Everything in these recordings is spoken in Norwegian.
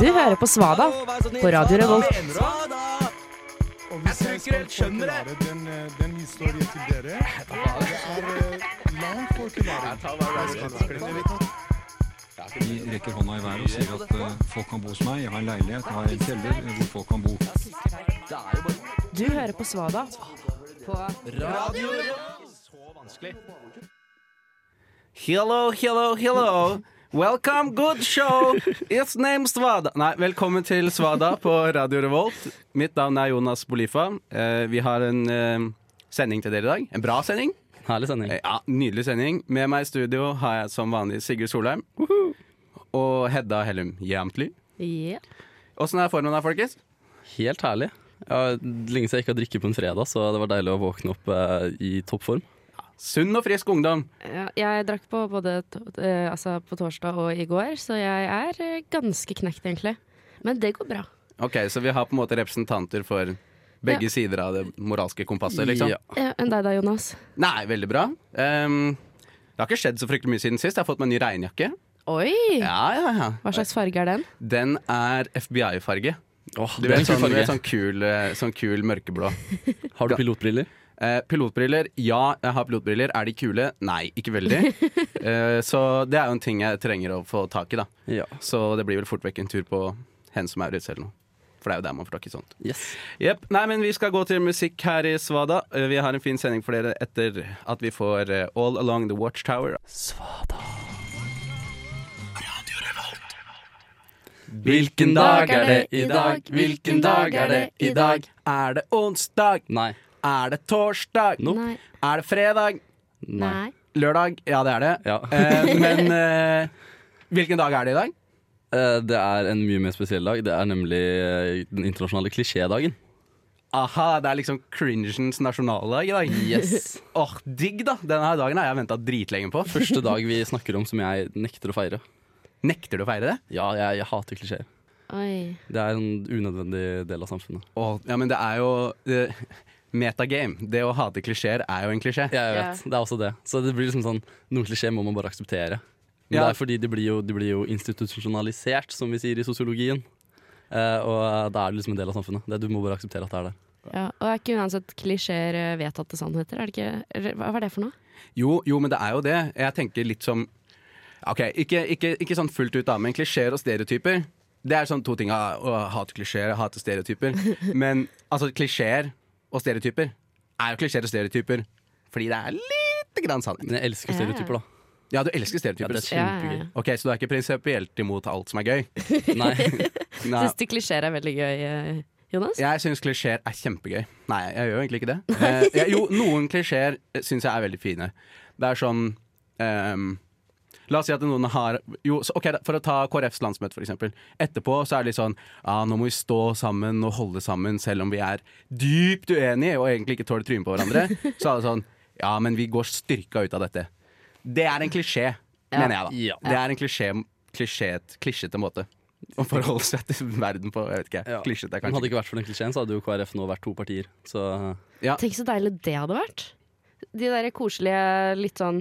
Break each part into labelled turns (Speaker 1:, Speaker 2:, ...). Speaker 1: Du hører på Svada på Radio Revolt.
Speaker 2: Og hvis jeg,
Speaker 3: tror ikke helt
Speaker 2: skal
Speaker 3: skjønner det.
Speaker 2: forklare den, eh, den historien til dere Det er eh, langt forklaring.
Speaker 4: De rekker hånda i været og sier at eh, folk kan bo hos meg, jeg har en leilighet, jeg har en kjeller eh, hvor folk kan bo.
Speaker 1: Du hører på Svada.
Speaker 5: Hello, hello, hello. Welcome, good show. It's name Svada. Nei, velkommen til Svada på Radio Revolt. Mitt navn er Jonas Bolifa. Eh, vi har en eh, sending til dere i dag. En bra sending.
Speaker 3: Herlig sending.
Speaker 5: Eh, ja, Nydelig sending. Med meg i studio har jeg som vanlig Sigurd Solheim. Og Hedda Hellum Jamtli.
Speaker 6: Ja.
Speaker 5: Åssen er formen da, folkens?
Speaker 3: Helt herlig. Ja, Lenge siden jeg ikke har drukket på en fredag, så det var deilig å våkne opp eh, i toppform.
Speaker 5: Sunn og frisk ungdom.
Speaker 6: Ja, Jeg drakk på både to eh, altså på torsdag og i går, så jeg er eh, ganske knekt, egentlig. Men det går bra.
Speaker 5: Ok, Så vi har på en måte representanter for begge
Speaker 6: Ja.
Speaker 5: sider av det moralske kompasset, liksom?
Speaker 3: Ja.
Speaker 6: Ja, Enn deg da, Jonas?
Speaker 5: Nei, veldig bra. Ehm, det har ikke skjedd så fryktelig mye siden sist. Jeg har fått meg en ny regnjakke.
Speaker 6: Oi!
Speaker 5: Ja, ja, ja.
Speaker 6: Hva slags farge er den?
Speaker 5: Den er FBI-farge.
Speaker 3: Åh,
Speaker 5: Du
Speaker 3: det er
Speaker 5: vet,
Speaker 3: en kul
Speaker 5: sånn, du
Speaker 3: farge.
Speaker 5: vet, sånn, kul, eh, sånn kul mørkeblå.
Speaker 3: Har du pilotbriller?
Speaker 5: Eh, pilotbriller. Ja, jeg har pilotbriller. Er de kule? Nei, ikke veldig. Eh, så det er jo en ting jeg trenger å få tak i, da.
Speaker 3: Ja.
Speaker 5: Så det blir vel fort vekk en tur på Hen som Maurits eller noe. For det er jo der man får tak i sånt.
Speaker 3: Yes.
Speaker 5: Jepp. Nei, men vi skal gå til musikk her i Svada. Eh, Vi har en fin sending for dere etter at vi får eh, All Along The Watchtower. Svada. Hvilken dag er det i dag? Hvilken dag er det i dag? Er det onsdag?
Speaker 3: Nei.
Speaker 5: Er det torsdag?
Speaker 3: Nope.
Speaker 6: Nei.
Speaker 5: Er det fredag?
Speaker 3: Nei.
Speaker 5: Lørdag? Ja, det er det.
Speaker 3: Ja.
Speaker 5: Eh, men eh, hvilken dag er det i dag?
Speaker 3: Eh, Det er en mye mer spesiell dag. Det er nemlig eh, den internasjonale klisjédagen.
Speaker 5: Aha, det er liksom cringens nasjonaldag i dag.
Speaker 3: Yes.
Speaker 5: Åh, digg da! Denne her dagen har jeg venta dritlenge på.
Speaker 3: Første dag vi snakker om som jeg nekter å feire.
Speaker 5: Nekter du å feire det?
Speaker 3: Ja, jeg, jeg hater klisjeer.
Speaker 6: Oi.
Speaker 3: Det er en unødvendig del av samfunnet.
Speaker 5: Åh, ja, men det er jo eh, Metagame. Det å hate klisjeer er jo en klisjé.
Speaker 3: Jeg vet, det er også det. Så det blir liksom sånn, noen klisjé må man bare akseptere. Men
Speaker 5: Ja.
Speaker 3: det er fordi de blir, jo, de blir jo institusjonalisert, som vi sier i sosiologien. Eh, og da er det liksom en del av samfunnet. Det, du må bare akseptere at det er det.
Speaker 6: Ja, og er ikke uansett klisjeer eh, vedtatte sannheter? Er det ikke, eller hva hva er det for noe?
Speaker 5: Jo, jo, men det er jo det. Jeg tenker litt som Ok, ikke, ikke, ikke sånn fullt ut, da, men klisjeer og stereotyper. Det er sånn to ting. ah, Å hate klisjeer, hate stereotyper. Men altså, klisjeer og stereotyper er jo klisjeer og stereotyper fordi det er lite grann sannhet.
Speaker 3: Men jeg elsker stereotyper, da.
Speaker 5: Ja, du elsker
Speaker 3: Ja,
Speaker 5: stereotyper.
Speaker 3: det er kjempegøy.
Speaker 5: Ok, Så du er ikke prinsipielt imot alt som er gøy?
Speaker 3: Nei,
Speaker 5: Nei.
Speaker 6: Syns du klisjeer er veldig gøy, eh, Jonas?
Speaker 5: Jeg syns klisjeer er kjempegøy. Nei, jeg gjør jo egentlig ikke det. Eh, jeg, jo, noen klisjeer syns jeg er veldig fine. Det er sånn ehm, La oss si at noen har jo, så, ok, da, For å ta KrFs landsmøte, for eksempel. Etterpå så er det litt sånn ah, Nå må vi stå sammen og holde sammen, selv om vi er dypt uenige og egentlig ikke tåler trynet på hverandre. Så er det sånn Ja, men vi går styrka ut av dette. Det er en klisjé, mener jeg, da.
Speaker 3: Ja.
Speaker 5: Det er en klisjé, klisjé, klisjete måte å forholde seg til verden på. Jeg vet ikke.
Speaker 3: Ja.
Speaker 5: Klisjete er
Speaker 3: men
Speaker 5: kanskje
Speaker 3: Hadde det ikke vært for den klisjeen, så hadde jo KrF nå vært to partier. Så
Speaker 6: Tenk så deilig det hadde vært. De der koselige, litt sånn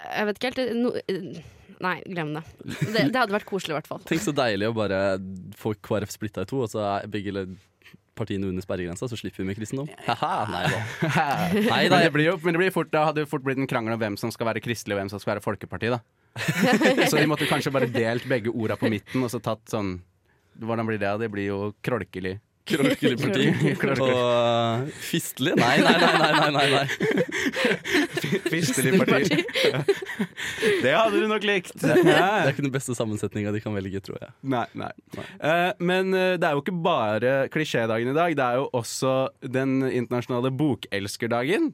Speaker 6: Jeg vet ikke helt eh, no, Nei, glem det. det. Det hadde vært koselig, i hvert fall.
Speaker 3: tenk så deilig å bare få KrF splitta i to, og så er begge le- partiene under sperregrensa, så slipper vi med kristendom. Haha, nei da. Nei
Speaker 5: Men
Speaker 3: da.
Speaker 5: det blir jo men det blir fort, da hadde det fort blitt en krangel om hvem som skal være kristelig og hvem som skal være folkeparti. da Så de måtte kanskje bare delt begge orda på midten og så tatt sånn Hvordan blir det? da? Det blir jo krolkelig.
Speaker 3: Krokelig parti.
Speaker 5: Krokelig.
Speaker 3: Og fistelig? Nei, nei, nei. nei, nei, nei, nei.
Speaker 5: Kristelig parti. Det hadde du nok likt.
Speaker 3: Det
Speaker 5: Nei,
Speaker 3: er ikke den beste sammensetninga de kan velge, tror jeg.
Speaker 5: nei. Eh, men eh, det er jo ikke bare klisjédagen i dag. Det er jo også den internasjonale bokelsker-dagen.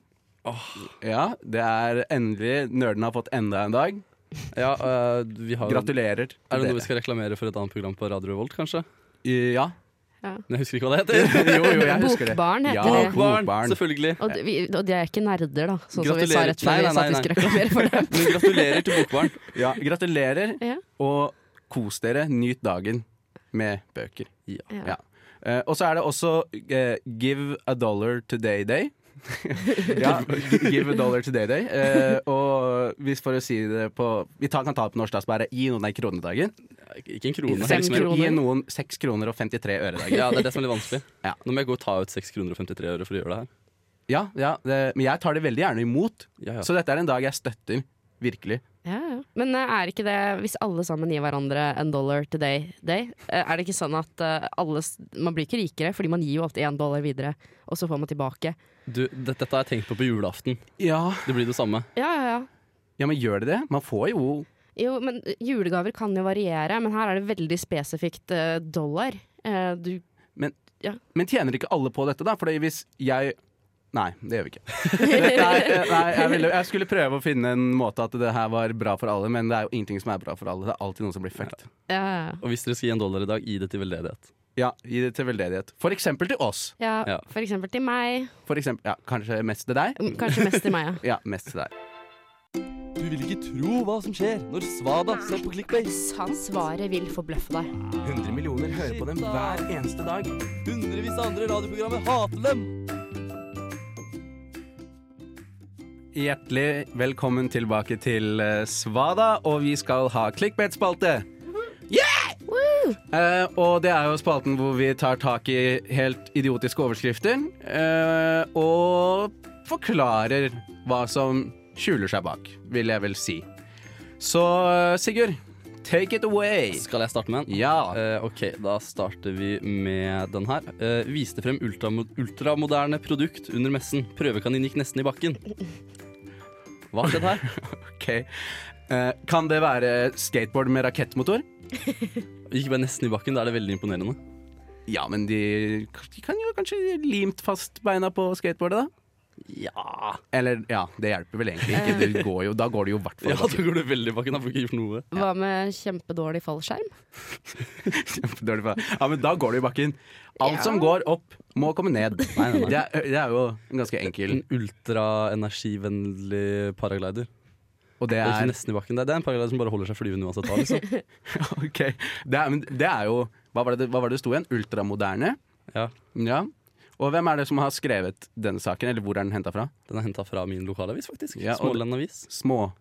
Speaker 5: Ja, det er endelig Nerden har fått enda en dag.
Speaker 3: Ja, øh, vi har jo-
Speaker 5: Gratulerer. til
Speaker 3: Er det noe vi
Speaker 5: dere.
Speaker 3: skal reklamere for et annet program på Radio Revolt, kanskje?
Speaker 5: Ja.
Speaker 3: Men jeg husker ikke hva det heter.
Speaker 5: Jo, jo, jeg husker det.
Speaker 6: Bokbarn heter
Speaker 5: Ja,
Speaker 6: det.
Speaker 3: Bokbarn,
Speaker 5: Bokbarn.
Speaker 3: selvfølgelig.
Speaker 6: Og, d- vi, og de er ikke nerder, da, sånn som vi sa
Speaker 3: Gratulerer.
Speaker 6: rett før
Speaker 3: Nei,
Speaker 6: vi sa
Speaker 3: nei,
Speaker 6: at vi
Speaker 3: nei,
Speaker 6: skulle reklamere for dem.
Speaker 3: Men gratulerer til Bokbarn.
Speaker 5: Ja, gratulerer,
Speaker 6: Ja.
Speaker 5: og kos dere. Nyt dagen med bøker.
Speaker 3: Ja.
Speaker 5: Ja. Eh, og så er det også eh, Give a dollar today day. Ja, give a dollar to day day. Eh, og hvis for å si det på Vi tar, kan ta det på norsk, da, så bare gi noen den kronedagen.
Speaker 3: Ikke en krone.
Speaker 7: Fem
Speaker 3: liksom.
Speaker 7: kroner.
Speaker 5: Gi noen 6 kroner og 53 øre-dagen.
Speaker 3: Ja, Det er det som er litt vanskelig.
Speaker 5: Ja.
Speaker 3: Nå må jeg gå og ta ut 6 kroner og 53 øre for å gjøre det her.
Speaker 5: Ja, ja, det, men jeg tar det veldig gjerne imot.
Speaker 3: Ja, ja.
Speaker 5: Så dette er en dag jeg støtter. Virkelig.
Speaker 7: Ja, ja. Men eh, er ikke det, hvis alle sammen gir hverandre en dollar today day, eh, er det ikke sånn at eh, alle s- Man blir ikke rikere, fordi man gir jo alltid én dollar videre, og så får man tilbake.
Speaker 3: Du, det, dette har jeg tenkt på på julaften.
Speaker 5: Ja.
Speaker 3: Det blir det samme.
Speaker 7: Ja, ja, ja.
Speaker 5: ja, men gjør det det? Man får jo
Speaker 7: Jo, men eh, julegaver kan jo variere, men her er det veldig spesifikt eh, dollar. Eh, du,
Speaker 5: Men tjener ikke alle på dette, da? Fordi hvis jeg Nei, det gjør vi ikke. Nei, eh, nei jeg, ville, jeg skulle prøve å finne en måte at det her var bra for alle, men det er jo ingenting som er bra for alle. Det er alltid noen som blir fucked.
Speaker 7: ja, ja.
Speaker 3: Og hvis dere skal gi en dollar i dag, gi det til veldedighet.
Speaker 5: Ja, gi det til veldedighet. For eksempel til oss.
Speaker 7: ja,
Speaker 3: Ja.
Speaker 7: for eksempel til meg.
Speaker 5: For eksempel, ja, kanskje mest til deg.
Speaker 7: Mm, Kanskje mest til meg, ja.
Speaker 5: Ja, mest til deg.
Speaker 8: Du vil ikke tro hva som skjer når Svada ser på Clickbase.
Speaker 7: Svaret vil forbløffe deg.
Speaker 8: 100 millioner hører på dem hver
Speaker 5: eneste dag.
Speaker 8: Hundrevis av andre radioprogrammer hater dem.
Speaker 5: Hjertelig velkommen tilbake til eh, Svada, og vi skal ha clickbait-spalte. Eh, og det er jo spalten hvor vi tar tak i helt idiotiske overskrifter eh, og forklarer hva som skjuler seg bak, vil jeg vel si. Så eh, Sigurd, take it away.
Speaker 3: Skal jeg starte med en?
Speaker 5: Ja.
Speaker 3: Eh, ok, da starter vi med den her. Eh, viste frem ultramo ultramoderne produkt under messen. Prøvekanin gikk nesten i bakken. Hva har skjedd her?
Speaker 5: Ok. Eh, kan det være skateboard med rakettmotor?
Speaker 3: Gikk bare nesten i bakken, da er det veldig imponerende.
Speaker 5: Ja, men de, de kan jo kanskje limt fast beina på skateboardet, da.
Speaker 3: Ja,
Speaker 5: Eller ja, det hjelper vel egentlig ikke. Det går jo, da går det jo i hvert fall
Speaker 3: ja da går det veldig i bakken. Da får du ikke gjort noe.
Speaker 7: Hva med kjempedårlig fallskjerm?
Speaker 5: Kjempedårlig for deg. Ja, men da går det i bakken. Alt som går opp, må komme ned.
Speaker 3: nei, nei.
Speaker 5: Det, er, det er jo en ganske enkel
Speaker 3: En ultraenergivennlig paraglider.
Speaker 5: Og det
Speaker 3: Det er ikke
Speaker 5: er,
Speaker 3: nesten i bakken. Det er- det er en paraglider som bare holder seg flyvende uansett hva. Liksom.
Speaker 5: Ok. det er, men det er jo Hva var det hva var det det sto igjen? Ultramoderne?
Speaker 3: Ja,
Speaker 5: Ja. Og hvem er det som har skrevet denne saken, eller hvor er den henta fra?
Speaker 3: den er henta fra min lokalavis, faktisk.
Speaker 5: Ja, og-
Speaker 3: Smålenden avis.
Speaker 5: Små...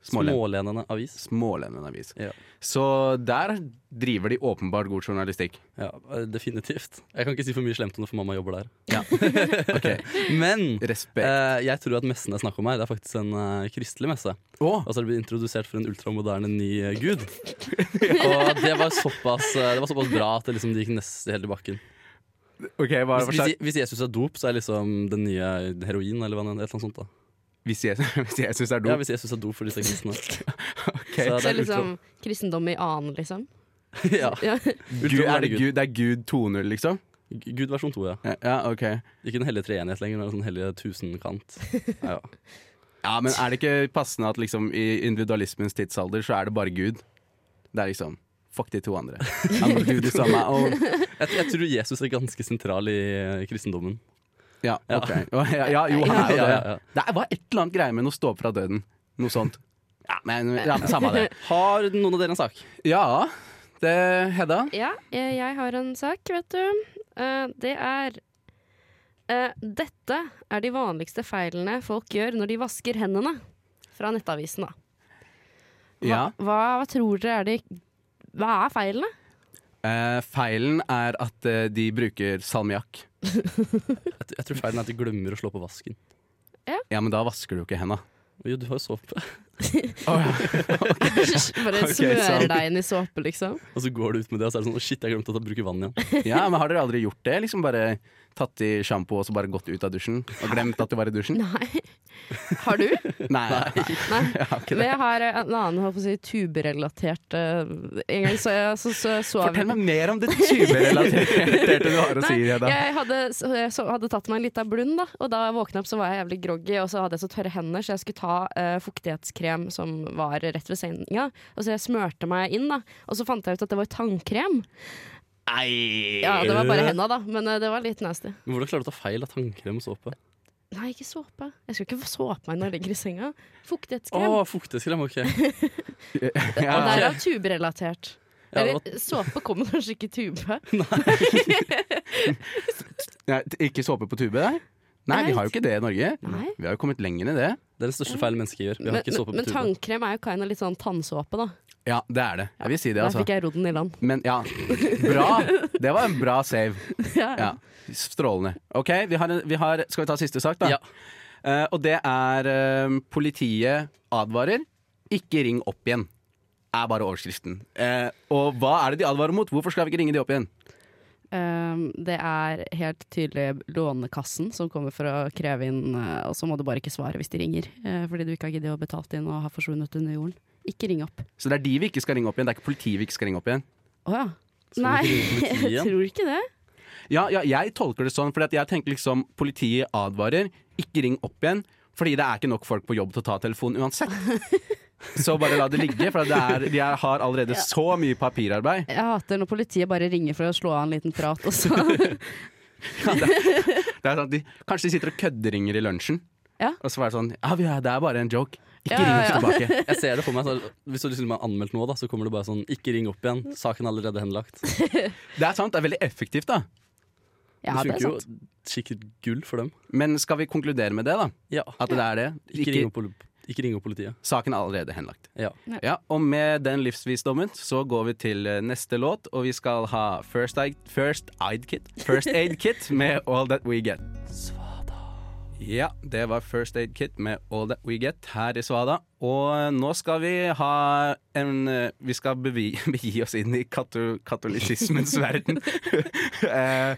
Speaker 5: Smålen.
Speaker 3: Smålenende avis.
Speaker 5: Smålenden avis.
Speaker 3: Ja.
Speaker 5: Så der driver de åpenbart god journalistikk.
Speaker 3: ja, eh, definitivt. Jeg kan ikke si for mye slemt om det, for mamma jobber der.
Speaker 5: Ok,
Speaker 3: Men
Speaker 5: Respekt.
Speaker 3: Eh, jeg tror at messen det er snakk om her, det er faktisk en eh, kristelig messe.
Speaker 5: Å,
Speaker 3: Og så er det blitt introdusert for en ultramoderne ny eh, gud. Og det var såpass, eh, det var såpass bra at det liksom gikk nesten helt i bakken.
Speaker 5: ok, hva er det
Speaker 3: Hvis,
Speaker 5: for
Speaker 3: hvis,
Speaker 5: slags
Speaker 3: hvis Jesus er dop, så er liksom den nye heroin eller hva det- et eller annet sånt. da
Speaker 5: Hvis Jesus, hvis Jesus er
Speaker 3: Ja,
Speaker 5: dum?
Speaker 3: Hvis Jesus er dop for disse kristne.
Speaker 5: Ok.
Speaker 3: Så
Speaker 7: Så
Speaker 3: det er
Speaker 7: liksom kristendom i annen, liksom.
Speaker 3: ultra, ja.
Speaker 7: Ja.
Speaker 5: Gud, er det, Gud, det er Gud 2.0, liksom?
Speaker 3: G- Gud versjon to, ja.
Speaker 5: Ja, ok.
Speaker 3: Ikke den hellige treenighet lenger, men den hellige tusenkant. Ja, ja.
Speaker 5: Ja, men er det ikke passende at liksom i individualismens tidsalder så er det bare Gud? Det er liksom Fuck de to andre. Han er Gud det samme. Og,
Speaker 3: Jeg, jeg tror Jesus er ganske sentral i eh, kristendommen.
Speaker 5: ja,
Speaker 3: Ja.
Speaker 5: ok. Og, ja, ja, jo, han er jo
Speaker 3: Ja, ja,
Speaker 5: det.
Speaker 3: ja.
Speaker 5: Det var et eller annet greie med noe stå opp fra døden. Noe sånt. Ja, men, ja, men samme det.
Speaker 3: Har noen av dere en sak?
Speaker 5: Ja, det Hedda.
Speaker 7: Ja, eh, jeg har en sak, vet du. Eh, Det er eh, Dette er de vanligste feilene folk gjør når de vasker hendene. Fra Nettavisen, da. Hva,
Speaker 5: Ja.
Speaker 7: hva, hva tror dere er de Hva er feilene?
Speaker 5: Eh, feilen er at eh, de bruker salmiakk.
Speaker 3: Jeg, t- jeg tror feilen er at de glemmer å slå på vasken.
Speaker 5: Ja, men da vasker du jo ikke henda.
Speaker 3: Jo, du har jo såpe.
Speaker 7: Bare
Speaker 5: Ok,
Speaker 7: smører
Speaker 5: sant.
Speaker 7: deg inn i såpe, liksom.
Speaker 3: Og så går du ut med det, og så er det sånn «Å, Shit, jeg glemte at jeg bruker vann igjen.
Speaker 5: Ja, men har dere aldri gjort det? Liksom bare tatt i sjampo og så bare gått ut av dusjen? Og glemt at du var i dusjen?
Speaker 7: Nei. Har du?
Speaker 5: Nei.
Speaker 7: Nei.
Speaker 5: Jeg har ikke
Speaker 7: Men jeg har en annen holdt på å si, tuberelatert eh, En gang så jeg så, så, så vi-
Speaker 5: Fortell meg mer om det tuberelaterte du har å si.
Speaker 7: Nei,
Speaker 5: Hedda.
Speaker 7: jeg hadde, så, jeg så, hadde tatt meg en liten blund, da. Og da jeg våkna opp, så var jeg jævlig groggy, og så hadde jeg så tørre hender, så jeg skulle ta eh, fuktighetskrem som var rett ved senga. Og så jeg smørte meg inn, da. Og så fant jeg ut at det var tannkrem. Ja, det var bare henda, da, men eh, det var litt nasty.
Speaker 3: Men hvordan klarer du å ta feil av tannkrem og såpe?
Speaker 7: Nei, ikke såpe. Jeg skal ikke såpe meg når jeg ligger i senga.
Speaker 3: Å,
Speaker 7: Fuktighetskrem.
Speaker 3: fukteskrem, ok.
Speaker 7: Og
Speaker 3: ok.
Speaker 7: derav tuberelatert.
Speaker 3: Ja, det
Speaker 7: Eller,
Speaker 3: var-
Speaker 7: såpe kommer kanskje ikke i tube.
Speaker 5: Nei, ikke såpe på tube der? Nei, vi har jo ikke det i Norge.
Speaker 6: Nei.
Speaker 5: Vi har jo kommet lenger i det.
Speaker 3: Det er den største feilen mennesker gjør. Vi har
Speaker 6: Men,
Speaker 3: ikke såpe
Speaker 6: men
Speaker 3: på tuben.
Speaker 6: tannkrem er jo kind of litt sånn tannsåpe, da.
Speaker 5: Ja, det er det. Jeg vil si det,
Speaker 6: Der
Speaker 5: altså.
Speaker 6: fikk jeg roden i land.
Speaker 5: Men ja, bra. Det var en bra save. Ja, Strålende. OK, vi har en, vi har, skal vi ta siste sak, da?
Speaker 3: Ja.
Speaker 5: Eh, og det er eh, politiet advarer. Ikke ring opp igjen. Er bare overskriften. Eh, og hva er det de advarer mot? Hvorfor skal vi ikke ringe de opp igjen?
Speaker 7: Um, det er helt tydelig Lånekassen som kommer for å kreve inn, eh, og så må du bare ikke svare hvis de ringer. eh, fordi du ikke har giddet å betalt inn og har forsvunnet under jorden. Ikke ring opp.
Speaker 5: Så det er de vi ikke skal ringe opp igjen. Det er ikke politiet vi ikke skal ringe opp igjen.
Speaker 7: Å ja.
Speaker 3: Skal vi
Speaker 7: Nei,
Speaker 3: ikke ringe politiet
Speaker 7: jeg
Speaker 3: igjen?
Speaker 7: tror ikke det.
Speaker 5: Ja, ja, jeg tolker det sånn, for jeg tenker liksom politiet advarer, ikke ring opp igjen. Fordi det er ikke nok folk på jobb til å ta telefonen uansett. Så bare la det ligge, for det er, de er, har allerede så mye papirarbeid.
Speaker 7: Jeg hater når politiet bare ringer for å slå av en liten prat, og så
Speaker 5: Det er sånn at de, kanskje de sitter og kødderinger i lunsjen,
Speaker 7: Ja.
Speaker 5: og så er det sånn Ja, vi er, det er bare en joke. Ikke
Speaker 7: Ja,
Speaker 5: ring
Speaker 7: ja,
Speaker 5: oss
Speaker 7: ja.
Speaker 5: tilbake.
Speaker 3: Jeg ser det for meg. Så hvis du liksom har anmeldt noe, da, så kommer det bare sånn 'ikke ring opp igjen', saken er allerede henlagt. Det
Speaker 5: Det er sant, det er veldig effektivt, da.
Speaker 7: Ja, det er
Speaker 3: funker jo
Speaker 7: sant.
Speaker 3: sikkert gull for dem.
Speaker 5: Men skal vi konkludere med det, da?
Speaker 3: Ja.
Speaker 5: At det er det?
Speaker 3: Ikke, ring opp, poli- ikke ring opp politiet.
Speaker 5: Saken er allerede henlagt.
Speaker 3: Ja.
Speaker 5: Ja, Og med den livsvisdommen så går vi til eh, neste låt, og vi skal ha First Aid, First Aid Kit First Aid Kit med All That We Get. Ja, det var First Aid Kit med All That We Get her i Svada. Og eh, nå skal vi ha en eh, Vi skal bevi, begi oss inn i kato, katolisismens verden. Eh,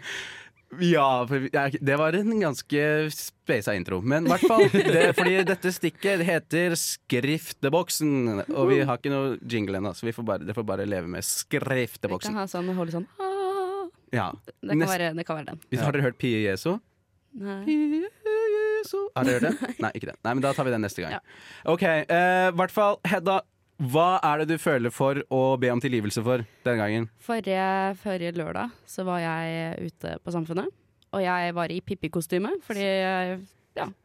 Speaker 5: ja, for vi- jeg- det var en ganske speisa intro. Men i hvert fall. Det, fordi dette stikket heter Skrifteboksen. Og vi har ikke noe jingle ennå, så vi får bare, det får bare leve med
Speaker 7: Vi kan
Speaker 5: Skrifteboksen.
Speaker 7: ha sånn, holde sånn «Ah».
Speaker 5: Ja.
Speaker 7: det, kan
Speaker 5: Nest-
Speaker 7: være, det kan være den.
Speaker 5: Har dere hørt Pie Jesu?
Speaker 7: Nei.
Speaker 5: Jesu Har dere hørt den? Nei. ikke den. Nei, men da tar vi den neste gang. Ok, eh, i hvert fall, Hedda. Hva er det du føler for å be om tilgivelse for denne gangen?
Speaker 7: Forrige, forrige lørdag så var jeg ute på Samfunnet, og jeg var i Pippi-kostyme fordi jeg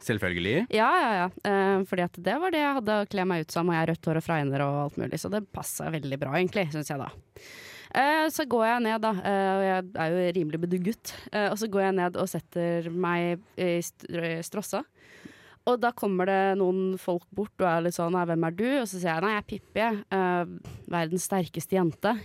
Speaker 5: Selvfølgelig.
Speaker 7: Ja, ja, ja. Eh, fordi at det var det jeg hadde å kle meg ut som, og jeg har rødt hår og fregner og alt mulig, så det passa veldig bra, egentlig, syns jeg da. Eh, så går jeg ned, da, eh, og jeg er jo rimelig bedugget, eh, og så går jeg ned og setter meg i st- strossa. Og da kommer det noen folk bort og er litt sånn «Nei, 'Hvem er du?' Og så sier jeg 'Nei, jeg er Pippi, jeg. Eh, verdens sterkeste jente'.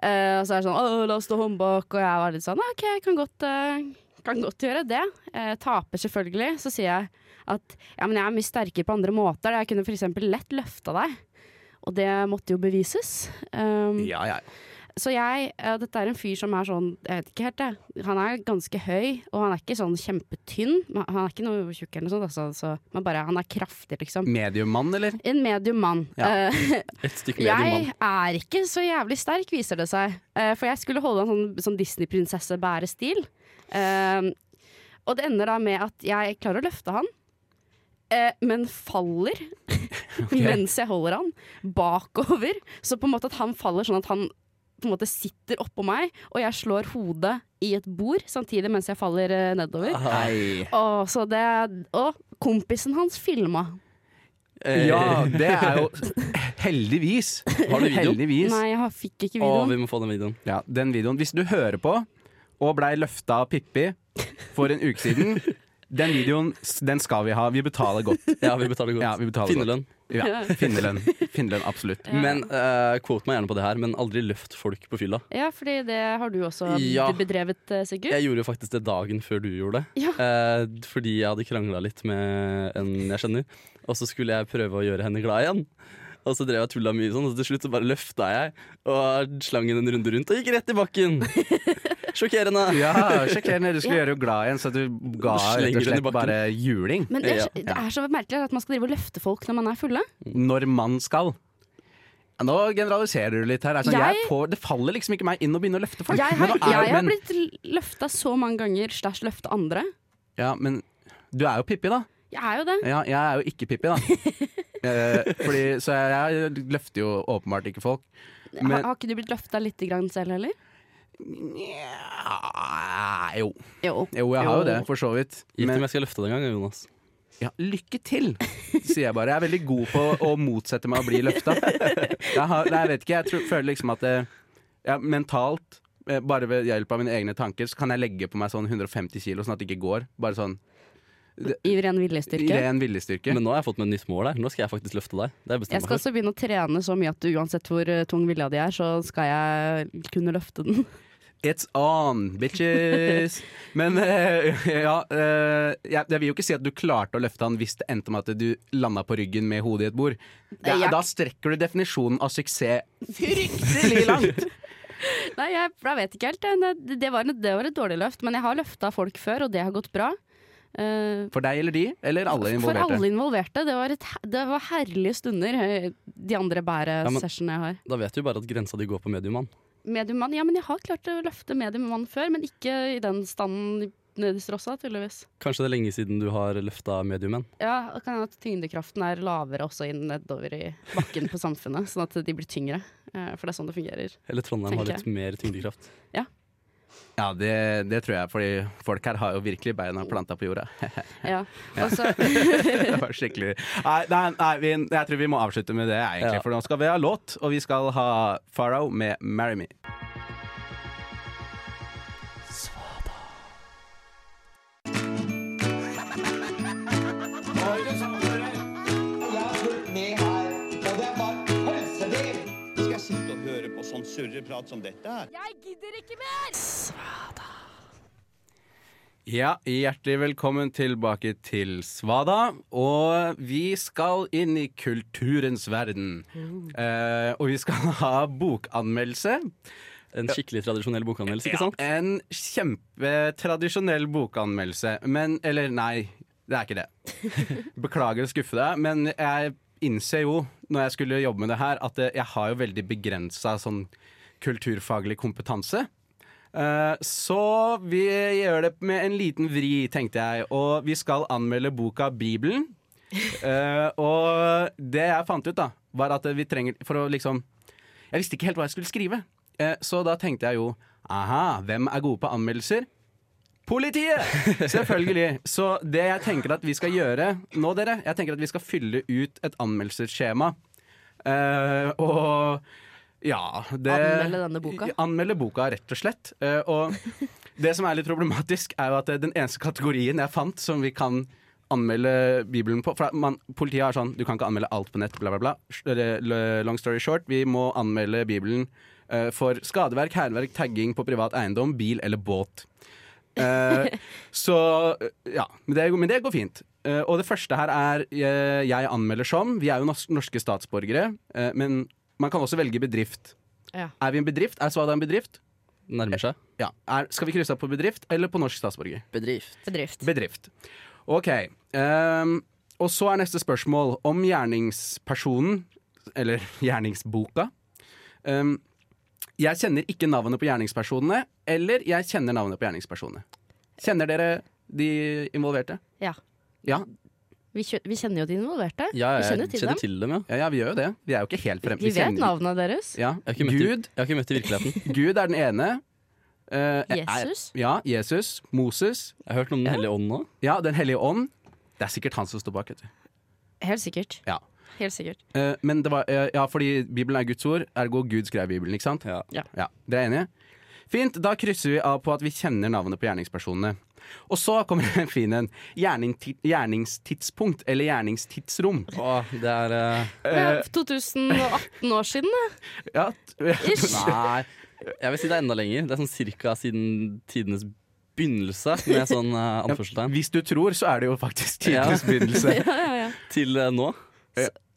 Speaker 7: Eh, og så er det sånn 'Å, la oss stå håndbak', og jeg var litt sånn «Ja, 'OK, jeg kan godt, eh, kan godt gjøre det'. Eh, taper selvfølgelig. Så sier jeg at ja, men jeg er mye sterkere på andre måter. Jeg kunne f.eks. lett løfta deg. Og det måtte jo bevises. Um,
Speaker 5: Ja, ja.
Speaker 7: Så jeg eh, Dette er en fyr som er sånn Jeg vet ikke helt, jeg. Han er ganske høy, og han er ikke sånn kjempetynn. Men Han er ikke noe tjukk eller noe sånt, altså, så, men bare han er kraftig, liksom.
Speaker 5: Mediummann, eller?
Speaker 7: En medium mann.
Speaker 5: Mm. Ja.
Speaker 7: Eh,
Speaker 3: Et stykke mer din
Speaker 7: jeg
Speaker 3: mann.
Speaker 7: er ikke så jævlig sterk, viser det seg. Eh, for jeg skulle holde en sånn, sånn Disney-prinsesse-bærestil. Eh, og det ender da med at jeg klarer å løfte han, eh, men faller mens jeg holder han, bakover. Så på en måte at han faller sånn at han på en måte sitter oppå meg, og jeg slår hodet i et bord samtidig mens jeg faller eh, nedover.
Speaker 3: Ah.
Speaker 5: Nei.
Speaker 7: Og, så det, og kompisen hans filma.
Speaker 5: Ja, det er jo Heldigvis.
Speaker 3: Har du video?
Speaker 5: Heldigvis.
Speaker 7: Nei, jeg fikk ikke
Speaker 3: Å,
Speaker 7: videoen.
Speaker 3: vi må få den videoen.
Speaker 5: Ja, den videoen. Hvis du hører på og blei løfta av Pippi for en uke siden, den videoen den skal vi ha. Vi betaler godt.
Speaker 3: Ja, vi betaler godt.
Speaker 5: Ja, vi betaler
Speaker 3: Finnerlønn.
Speaker 5: Ja, Finnerlønn. Finnerlønn, absolutt.
Speaker 3: Men uh, quote meg gjerne på det her, men aldri løft folk på fylla.
Speaker 7: Ja, fordi det har du også
Speaker 3: Ja.
Speaker 7: bedrevet, eh, Sigurd.
Speaker 3: Jeg gjorde jo faktisk det dagen før du gjorde det.
Speaker 7: Ja.
Speaker 3: Eh, fordi jeg hadde krangla litt med en jeg kjenner, og så skulle jeg prøve å gjøre henne glad igjen. Og så drev jeg og tulla mye sånn, og til slutt så bare løfta jeg og slang henne en runde rundt og gikk rett i bakken. Sjokkerende.
Speaker 5: Ja, sjekkerende. Du skulle gjøre henne glad igjen, så du ga
Speaker 3: Du slenger
Speaker 5: rett og
Speaker 3: henne i
Speaker 5: slett
Speaker 3: bakken.
Speaker 5: bare juling.
Speaker 7: Men det er,
Speaker 3: Ja.
Speaker 7: det er så merkelig at man skal drive og løfte folk når man er fulle.
Speaker 5: Når man skal. Ja, Nå generaliserer du litt her. Altså, jeg
Speaker 7: Jeg-
Speaker 5: får, det faller liksom ikke meg inn å begynne å løfte folk.
Speaker 7: Jeg
Speaker 5: Men
Speaker 7: har,
Speaker 5: nå er-
Speaker 7: jeg har
Speaker 5: men-
Speaker 7: blitt løfta så mange ganger slash løfta andre.
Speaker 5: Ja, men du er jo Pippi, da.
Speaker 7: Jeg er jo det.
Speaker 5: Ja, jeg er jo ikke Pippi, da. Eh, fordi, så jeg, jeg løfter jo åpenbart ikke folk.
Speaker 7: har,
Speaker 5: Eh, Men
Speaker 7: har ikke du blitt løfta litt grann selv heller?
Speaker 5: Nja, jo.
Speaker 7: Jo.
Speaker 5: jo, jeg har jo det, for så vidt.
Speaker 3: Gitt om
Speaker 5: Men
Speaker 3: jeg skal løfte det en gang, Jonas.
Speaker 5: ja, lykke til, sier jeg bare. Jeg er veldig god på å motsette meg å bli løfta. Jeg, har- nei, jeg vet ikke, jeg tror, føler liksom at det, ja, mentalt eh, bare ved hjelp av mine egne tanker så kan jeg legge på meg sånn 150 kilo, sånn at det ikke går. Bare sånn det,
Speaker 7: I ren
Speaker 5: i
Speaker 7: viljestyrke.
Speaker 5: ren viljestyrke.
Speaker 3: Men nå har jeg fått meg et nytt mål her. Nå skal jeg faktisk løfte deg. Det har jeg
Speaker 7: Jeg
Speaker 3: bestemt
Speaker 7: skal
Speaker 3: meg for.
Speaker 7: også begynne å trene så mye at du, uansett hvor eh, tung vilja di er, så skal jeg kunne løfte den.
Speaker 5: It's on, bitches! Men eh, ja eh, jeg, jeg vil jo ikke si at du klarte å løfte han hvis det endte med at du landa på ryggen med hodet i et bord. Det,
Speaker 7: Ja.
Speaker 5: Da strekker du definisjonen av suksess fryktelig langt!
Speaker 7: Nei, jeg, jeg vet ikke helt. Det, det, var, en- det var et dårlig løft, men jeg har løfta folk før, og det har gått bra. Eh,
Speaker 5: For deg eller de, eller alle
Speaker 7: for
Speaker 5: involverte.
Speaker 7: alle involverte. Det var, et, he- det var herlige stunder, eh, de andre
Speaker 3: Ja, men-
Speaker 7: bæresessionene jeg har.
Speaker 3: Da vet du bare at grensa di går på mediummann.
Speaker 7: Mediummann, ja, men jeg har klart å løfte mediummann før, men ikke i den standen nederst også, tydeligvis.
Speaker 3: Kanskje det er lenge siden du har løfta mediummenn.
Speaker 7: Ja, og kan hende at tyngdekraften er lavere også inn nedover i bakken på samfunnet, sånn at de blir tyngre. Eh, For det er sånn det fungerer.
Speaker 3: Eller Trondheim har
Speaker 7: Tenker
Speaker 3: litt mer tyngdekraft.
Speaker 5: Ja, det, det tror jeg, fordi folk her har jo virkelig beina planta på jorda.
Speaker 7: Ja. Og så
Speaker 5: Det var skikkelig Nei, nei, nei vi, jeg tror vi må avslutte med det, egentlig.
Speaker 3: Ja.
Speaker 5: For nå skal vi ha låt, og vi skal ha Farrow med 'Marry Me'.
Speaker 9: Skal jeg sitte og høre på sånn surreprat som dette her?
Speaker 5: Ja, hjertelig velkommen tilbake til Svada. Og vi skal inn i kulturens verden. Eh, og vi skal ha bokanmeldelse.
Speaker 3: En skikkelig tradisjonell bokanmeldelse, ikke sant?
Speaker 5: En kjempetradisjonell bokanmeldelse. Men Eller nei, det er ikke det. Beklager å skuffe deg, men jeg innser jo når jeg skulle jobbe med det her, at eh, jeg har jo veldig begrensa sånn kulturfaglig kompetanse. Eh, Så vi gjør det med en liten vri, tenkte jeg. Og vi skal anmelde boka Bibelen. Eh, og det jeg fant ut, da, var at vi trenger For å liksom Jeg visste ikke helt hva jeg skulle skrive. Eh, så da tenkte jeg jo Aha, hvem er gode på anmeldelser? Politiet! Selvfølgelig. Så det jeg tenker at vi skal gjøre nå, dere Jeg tenker at vi skal fylle ut et anmeldelsesskjema. Eh, og ja det,
Speaker 6: Anmelde denne boka?
Speaker 5: Anmelde boka, rett og slett. Eh, og det som er litt problematisk, er jo at eh, den eneste kategorien jeg fant som vi kan anmelde Bibelen på For man, Politiet er sånn Du kan ikke anmelde alt på nett, bla, bla, bla. Sh- eller, l- Long story short, vi må anmelde Bibelen eh, for skadeverk, hærverk, tagging på privat eiendom, bil eller båt. Eh, så eh, ja. Men det, men det går fint. Eh, og det første her er eh, jeg anmelder som. Vi er jo nors- norske statsborgere, eh, men man kan også velge bedrift.
Speaker 6: Ja.
Speaker 5: Er vi en bedrift? Er Svada en bedrift?
Speaker 3: Nærmer seg.
Speaker 5: Ja. Er, skal vi krysse av på bedrift eller på norsk statsborger?
Speaker 3: Bedrift.
Speaker 6: Bedrift.
Speaker 5: Bedrift. Ok. ehm, og så er neste spørsmål om gjerningspersonen, eller gjerningsboka. Ehm, jeg kjenner ikke navnet på gjerningspersonene, eller jeg kjenner navnet på gjerningspersonene. Kjenner dere de involverte?
Speaker 6: Ja.
Speaker 5: Ja,
Speaker 6: Vi, kjø vi kjenner jo de involverte.
Speaker 3: Ja,
Speaker 6: vi
Speaker 3: jeg
Speaker 6: kjenner til dem.
Speaker 3: til dem, ja.
Speaker 5: ja, ja vi gjør jo det. Vi er jo ikke helt fremme.
Speaker 6: Vi vet
Speaker 5: kjenner-
Speaker 6: navnene deres.
Speaker 5: Ja.
Speaker 3: Jeg har ikke møtt,
Speaker 5: Gud,
Speaker 3: I, jeg har ikke møtt i virkeligheten.
Speaker 5: Gud er den ene. Eh, er-
Speaker 6: Jesus.
Speaker 5: ja, Jesus. Moses.
Speaker 3: Jeg har hørt noe om Den hellige ånd nå.
Speaker 5: Ja, Den hellige ånd. Det er sikkert han som står bak. Vet du.
Speaker 6: Helt sikkert.
Speaker 5: Ja.
Speaker 6: Helt sikkert.
Speaker 5: Eh, men det var, eh, ja, fordi Bibelen er Guds ord, ergo Gud skrev Bibelen, ikke sant?
Speaker 3: Ja.
Speaker 6: Ja.
Speaker 5: Dere er enige? Fint, da krysser vi av på at vi kjenner navnet på gjerningspersonene. Og så kommer en fin en. Gjerning, gjerningstidspunkt, eller gjerningstidsrom.
Speaker 3: Å, det er eh,
Speaker 6: Ja, 2018 år siden, da.
Speaker 5: Ja, t-
Speaker 6: Ish.
Speaker 3: Nei, jeg vil si det er enda lenger. Det er sånn cirka siden tidenes begynnelse, med sånn eh, anførselstegn,
Speaker 5: hvis du tror, så er det jo faktisk tidenes begynnelse.
Speaker 6: Ja, ja, ja.
Speaker 3: til eh, nå.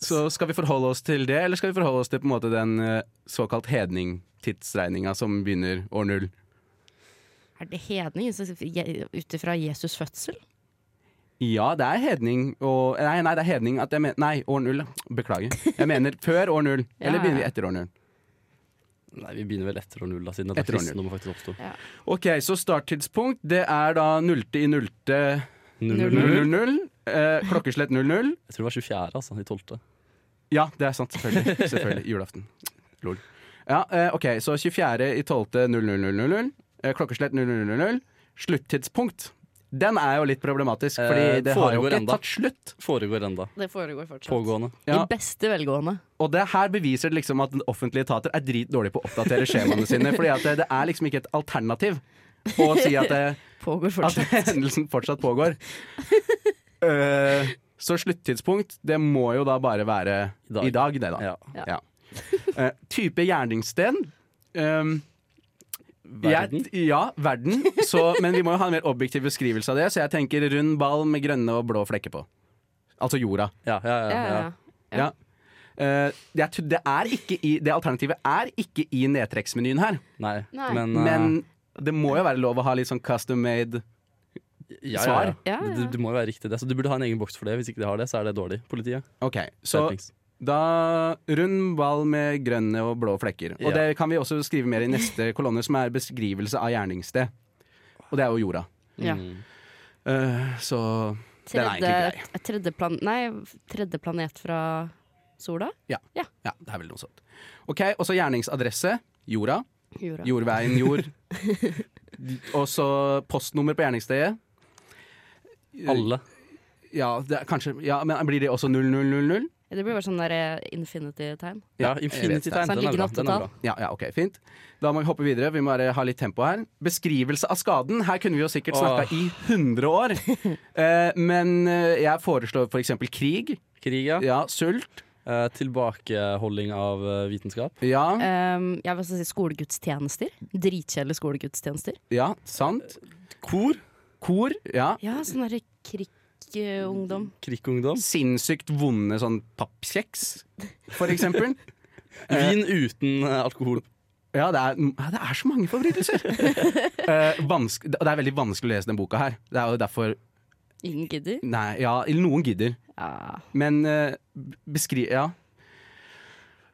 Speaker 5: Så skal vi forholde oss til det, eller skal vi forholde oss til på en måte den eh, såkalt hedning-tidsregninga som begynner år null?
Speaker 6: Er det hedning ut ifra Jesus' fødsel?
Speaker 5: Ja, det er hedning og Nei, nei det er hedning at jeg mener Nei, år null. da. Beklager. Jeg mener før år null. Eller begynner vi etter år null?
Speaker 3: Nei, vi begynner vel etter år null, da, siden det
Speaker 5: Etter
Speaker 3: var
Speaker 5: år null.
Speaker 3: kristendom faktisk oppsto.
Speaker 5: Ok, så starttidspunkt det er da nullte i nullte
Speaker 3: Null, null, null.
Speaker 5: 000. Eh, klokkeslett 00.
Speaker 3: Jeg tror det var 24., altså. I 12.
Speaker 5: Ja, det er sant. Selvfølgelig. selvfølgelig julaften. Lol. Ja, eh, ok, så 24 i 12. 0000. Eh, klokkeslett 0000. Sluttidspunkt. Den er jo litt problematisk, fordi
Speaker 3: Eh,
Speaker 5: det har jo
Speaker 3: foregår
Speaker 5: ikke
Speaker 3: enda.
Speaker 5: tatt slutt.
Speaker 3: Foregår enda.
Speaker 6: Det foregår fortsatt.
Speaker 3: Pågående.
Speaker 5: Ja.
Speaker 6: I beste velgående.
Speaker 5: Og det her beviser det liksom at offentlige etater er dritdårlige på å oppdatere skjemaene sine. Fordi at det, det er liksom ikke et alternativ å si at, det,
Speaker 6: Pågår
Speaker 5: at
Speaker 6: fortsatt.
Speaker 5: hendelsen fortsatt pågår. Eh, så sluttidspunkt, det må jo da bare være
Speaker 3: I
Speaker 5: i
Speaker 3: dag.
Speaker 5: dag, det, da.
Speaker 3: Ja.
Speaker 5: Ja. Eh, type gjerningssted. Um,
Speaker 3: Verden.
Speaker 5: Jeg, ja, verden. Så, men vi må jo ha en mer objektiv beskrivelse av det, så jeg tenker rund ball med grønne og blå flekker på. Altså jorda.
Speaker 3: Ja, ja, ja,
Speaker 6: Ja, ja,
Speaker 3: ja.
Speaker 6: ja.
Speaker 5: Ja. Eh, jeg tror det, er ikke i, det alternativet er ikke i nedtrekksmenyen her,
Speaker 3: Nei.
Speaker 6: Nei.
Speaker 3: Men, eh,
Speaker 5: men det må jo være lov å ha litt sånn custom made.
Speaker 3: ja,
Speaker 5: svar.
Speaker 3: Ja, ja.
Speaker 6: Ja, ja.
Speaker 3: Det, det må jo være riktig, det. Så du burde ha en egen boks for det. Hvis ikke de har det, så er det dårlig. Politiet.
Speaker 5: Ok, Så
Speaker 3: Skjerpings.
Speaker 5: da rund ball med grønne og blå flekker. Og
Speaker 3: Ja.
Speaker 5: det kan vi også skrive mer i neste kolonne, som er beskrivelse av gjerningssted. Og det er jo jorda.
Speaker 7: Ja.
Speaker 3: Mm.
Speaker 5: Eh, så den er egentlig grei.
Speaker 6: Tredje, tredje, plan, nei, tredje planet fra sola?
Speaker 5: Ja, det er vel noe sånt. Ok, Og så gjerningsadresse. Jorda.
Speaker 6: Jorda.
Speaker 5: Jordveien jord. og så postnummer på gjerningsstedet.
Speaker 3: Alle.
Speaker 5: Ja, det er kanskje ja, men Blir det også 0000?
Speaker 6: Det blir bare sånn der eh, infinity-tegn.
Speaker 5: jeg vet
Speaker 3: Ja,
Speaker 5: det.
Speaker 3: Infinity-tegn.
Speaker 6: Sånn
Speaker 3: Den er bra.
Speaker 6: liggende
Speaker 3: Den er bra.
Speaker 6: åttetall.
Speaker 5: Ja, ja, ok, fint. Da må vi hoppe videre. Vi må bare ha litt tempo her. Beskrivelse av skaden. Her kunne vi jo sikkert snakka i 100 år. Eh, men eh, jeg foreslår f.eks. eksempel krig.
Speaker 3: Krig, ja.
Speaker 5: Ja, sult.
Speaker 3: Eh, tilbakeholding av eh, vitenskap.
Speaker 5: Ja,
Speaker 6: Um, jeg vil også si skolegudstjenester. Dritkjedelige skolegudstjenester.
Speaker 5: ja, sant.
Speaker 3: Kor.
Speaker 5: Kor. Ja.
Speaker 6: Ja, sånn eh, derre krikkungdom.
Speaker 3: Krikkungdom.
Speaker 5: Sinnssykt vonde sånn pappkjeks, for eksempel.
Speaker 3: Vin uten eh, alkohol.
Speaker 5: Ja, det er, ja, det er så mange forbrytelser! Eh, vanske- det er veldig vanskelig å lese den boka her. Det er jo derfor
Speaker 6: Ingen gidder.
Speaker 5: Nei, ja, eller noen gidder.
Speaker 6: Ja.
Speaker 5: Men eh, beskri... Ja.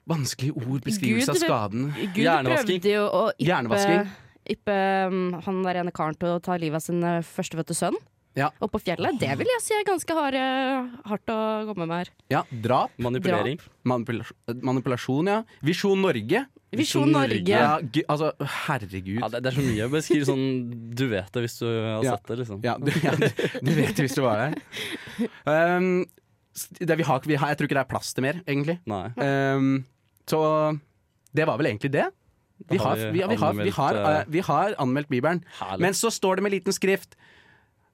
Speaker 5: Vanskelige ord, beskrivelse av
Speaker 6: Gud,
Speaker 5: skaden.
Speaker 6: Gud
Speaker 3: Hjernevasking.
Speaker 6: prøvde jo å yppe,
Speaker 5: Hjernevasking.
Speaker 6: yppe um, han der ene karen til å ta livet av sin eh, førstefødte sønn.
Speaker 5: Ja.
Speaker 6: Og på fjellet. Det vil jeg si er ganske hard, eh, hardt å komme med her.
Speaker 5: Ja, drap.
Speaker 3: Manipulering.
Speaker 5: Manipulasjon, manipulasjon ja. Visjon Norge.
Speaker 6: Visjon Norge.
Speaker 5: Ja, gu- altså, herregud.
Speaker 3: Ja, det, det er så mye. Beskriv sånn Du vet det hvis du har
Speaker 5: Ja.
Speaker 3: sett det, liksom.
Speaker 5: Ja, du, ja, du, du vet det hvis du var der. Um, s- det, vi har, vi har, jeg tror ikke det er plass til mer, egentlig.
Speaker 3: Nei.
Speaker 5: Um, så det var vel egentlig det. Vi
Speaker 3: Da har
Speaker 5: har,
Speaker 3: vi
Speaker 5: vi, ja, vi har, vi har,
Speaker 3: anmeldt, eh,
Speaker 5: eh, vi har anmeldt Bibelen.
Speaker 3: Herlig.
Speaker 5: Men så står det med liten skrift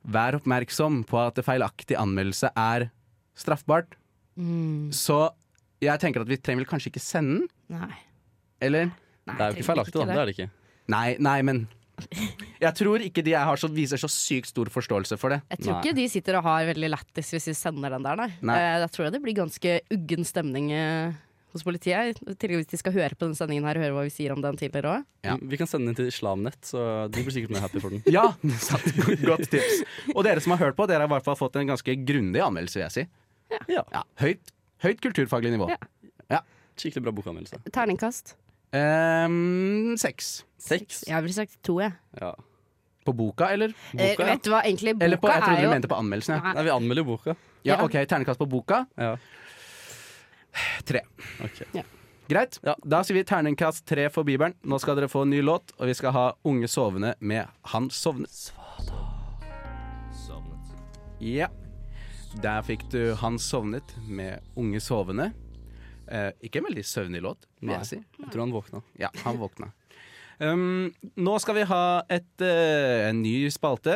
Speaker 5: Vær oppmerksom på at feilaktig anmeldelse er straffbart.
Speaker 7: Mm,
Speaker 5: Så jeg tenker at vi trenger vel kanskje ikke sende den,
Speaker 6: Nei.
Speaker 5: eller?
Speaker 6: Nei,
Speaker 3: det er jo ikke
Speaker 6: trenger
Speaker 3: feilaktig, da. Det er det ikke.
Speaker 5: Nei, nei, men Jeg tror ikke de jeg har så, viser så sykt stor forståelse for det.
Speaker 7: Jeg tror
Speaker 3: Nei.
Speaker 7: ikke de sitter og har veldig lættis hvis de sender den der, nei.
Speaker 5: Nei.
Speaker 7: Eh, da tror jeg det blir ganske uggen stemning eh, hos politiet. I tillegg hvis de skal høre på den sendingen her og høre hva vi sier om den tidligere òg.
Speaker 5: Ja.
Speaker 3: Vi kan sende den til Islamnett, så de blir sikkert mer happy for den.
Speaker 5: Ja, sant. Godt tips. Og dere som har hørt på, dere har i hvert fall fått en ganske grundig anmeldelse, vil jeg si.
Speaker 3: Ja.
Speaker 5: høyt, høyt kulturfaglig nivå.
Speaker 7: Ja.
Speaker 3: Skikkelig bra bokanmeldelse.
Speaker 7: Terningkast.
Speaker 5: Ehm, seks.
Speaker 3: Seks.
Speaker 7: Jeg ville sagt to, jeg.
Speaker 3: Ja.
Speaker 5: På boka, eller?
Speaker 7: Eh,
Speaker 3: Boka, ja.
Speaker 7: vet du hva, egentlig, boka
Speaker 5: Eller på, jeg trodde
Speaker 7: er
Speaker 5: du
Speaker 7: jo
Speaker 5: mente på anmeldelsen. Ja.
Speaker 7: Nei.
Speaker 3: Nei, vi anmelder jo boka.
Speaker 5: ja, ok, Ternekast på boka.
Speaker 3: Ja.
Speaker 5: Tre.
Speaker 3: Ok.
Speaker 5: Greit.
Speaker 3: Ja.
Speaker 5: Da sier vi terningkast tre for Bibelen. Nå skal dere få en ny låt, og vi skal ha Unge sovende med Han sovnet. Ja. Der fikk du Han sovnet med Unge sovende. Eh, ikke en veldig søvnig låt, vil
Speaker 3: Nei.
Speaker 5: jeg si.
Speaker 3: Jeg tror han våkna.
Speaker 5: Ja, han våkna. Um, nå skal vi ha et, eh, en ny spalte.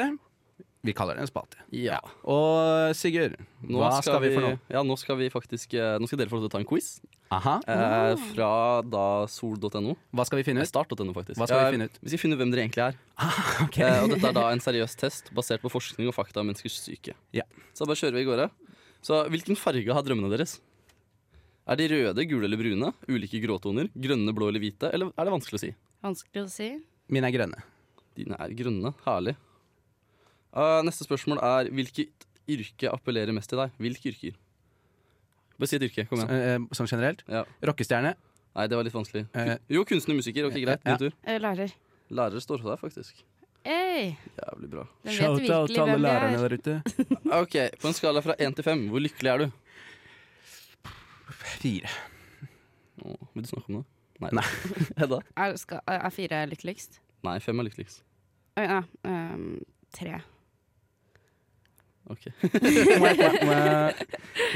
Speaker 5: Vi kaller det en spalte.
Speaker 3: Ja.
Speaker 5: Og Sigurd,
Speaker 3: Nå
Speaker 5: hva skal vi for noe?
Speaker 3: Ja, nå skal vi faktisk eh, Nå skal dere få lov til å ta en quiz
Speaker 5: Aha,
Speaker 3: eh, fra da sol.no.
Speaker 5: Hva skal vi finne ut?
Speaker 3: Start.no, faktisk.
Speaker 5: Hva skal vi
Speaker 3: Eh,
Speaker 5: finne ut?
Speaker 3: Vi skal finne ut hvem dere egentlig er. Eh, og dette er da en seriøs test basert på forskning og fakta om menneskers syke.
Speaker 5: Ja.
Speaker 3: Så da bare kjører vi i gårde. Så hvilken farge har drømmene deres? Er de røde, gule eller brune? Ulike gråtoner? Grønne, blå eller hvite? Eller er det vanskelig å si?
Speaker 7: Vanskelig å si.
Speaker 5: Mine er grønne.
Speaker 3: Dine er grønne. Herlig. Eh, neste spørsmål er hvilket yrke appellerer mest til deg? Hvilke yrker? Bare si et yrke. Kom igjen.
Speaker 5: Eh, eh, Sånn generelt.
Speaker 3: Ja.
Speaker 5: Rockestjerne.
Speaker 3: Nei, det var litt vanskelig.
Speaker 5: Eh.
Speaker 3: Jo, kunstner, musiker. Ok, greit.
Speaker 5: Ja.
Speaker 3: Din tur.
Speaker 7: Eh, lærer.
Speaker 3: Lærer står for deg, faktisk.
Speaker 7: Hey,
Speaker 3: Jævlig bra.
Speaker 7: den vet virkelig hvem vi er.
Speaker 5: der ute.
Speaker 3: Ok, På en skala fra én til fem, hvor lykkelig er du?
Speaker 5: Fire.
Speaker 3: Å, vil du snakke om det? Nei.
Speaker 5: Nei.
Speaker 3: Hedda?
Speaker 7: Er, skal, er fire lykkeligst?
Speaker 3: Nei, fem er lykkeligst.
Speaker 7: Oi, ja, ehm, tre.
Speaker 3: Ok.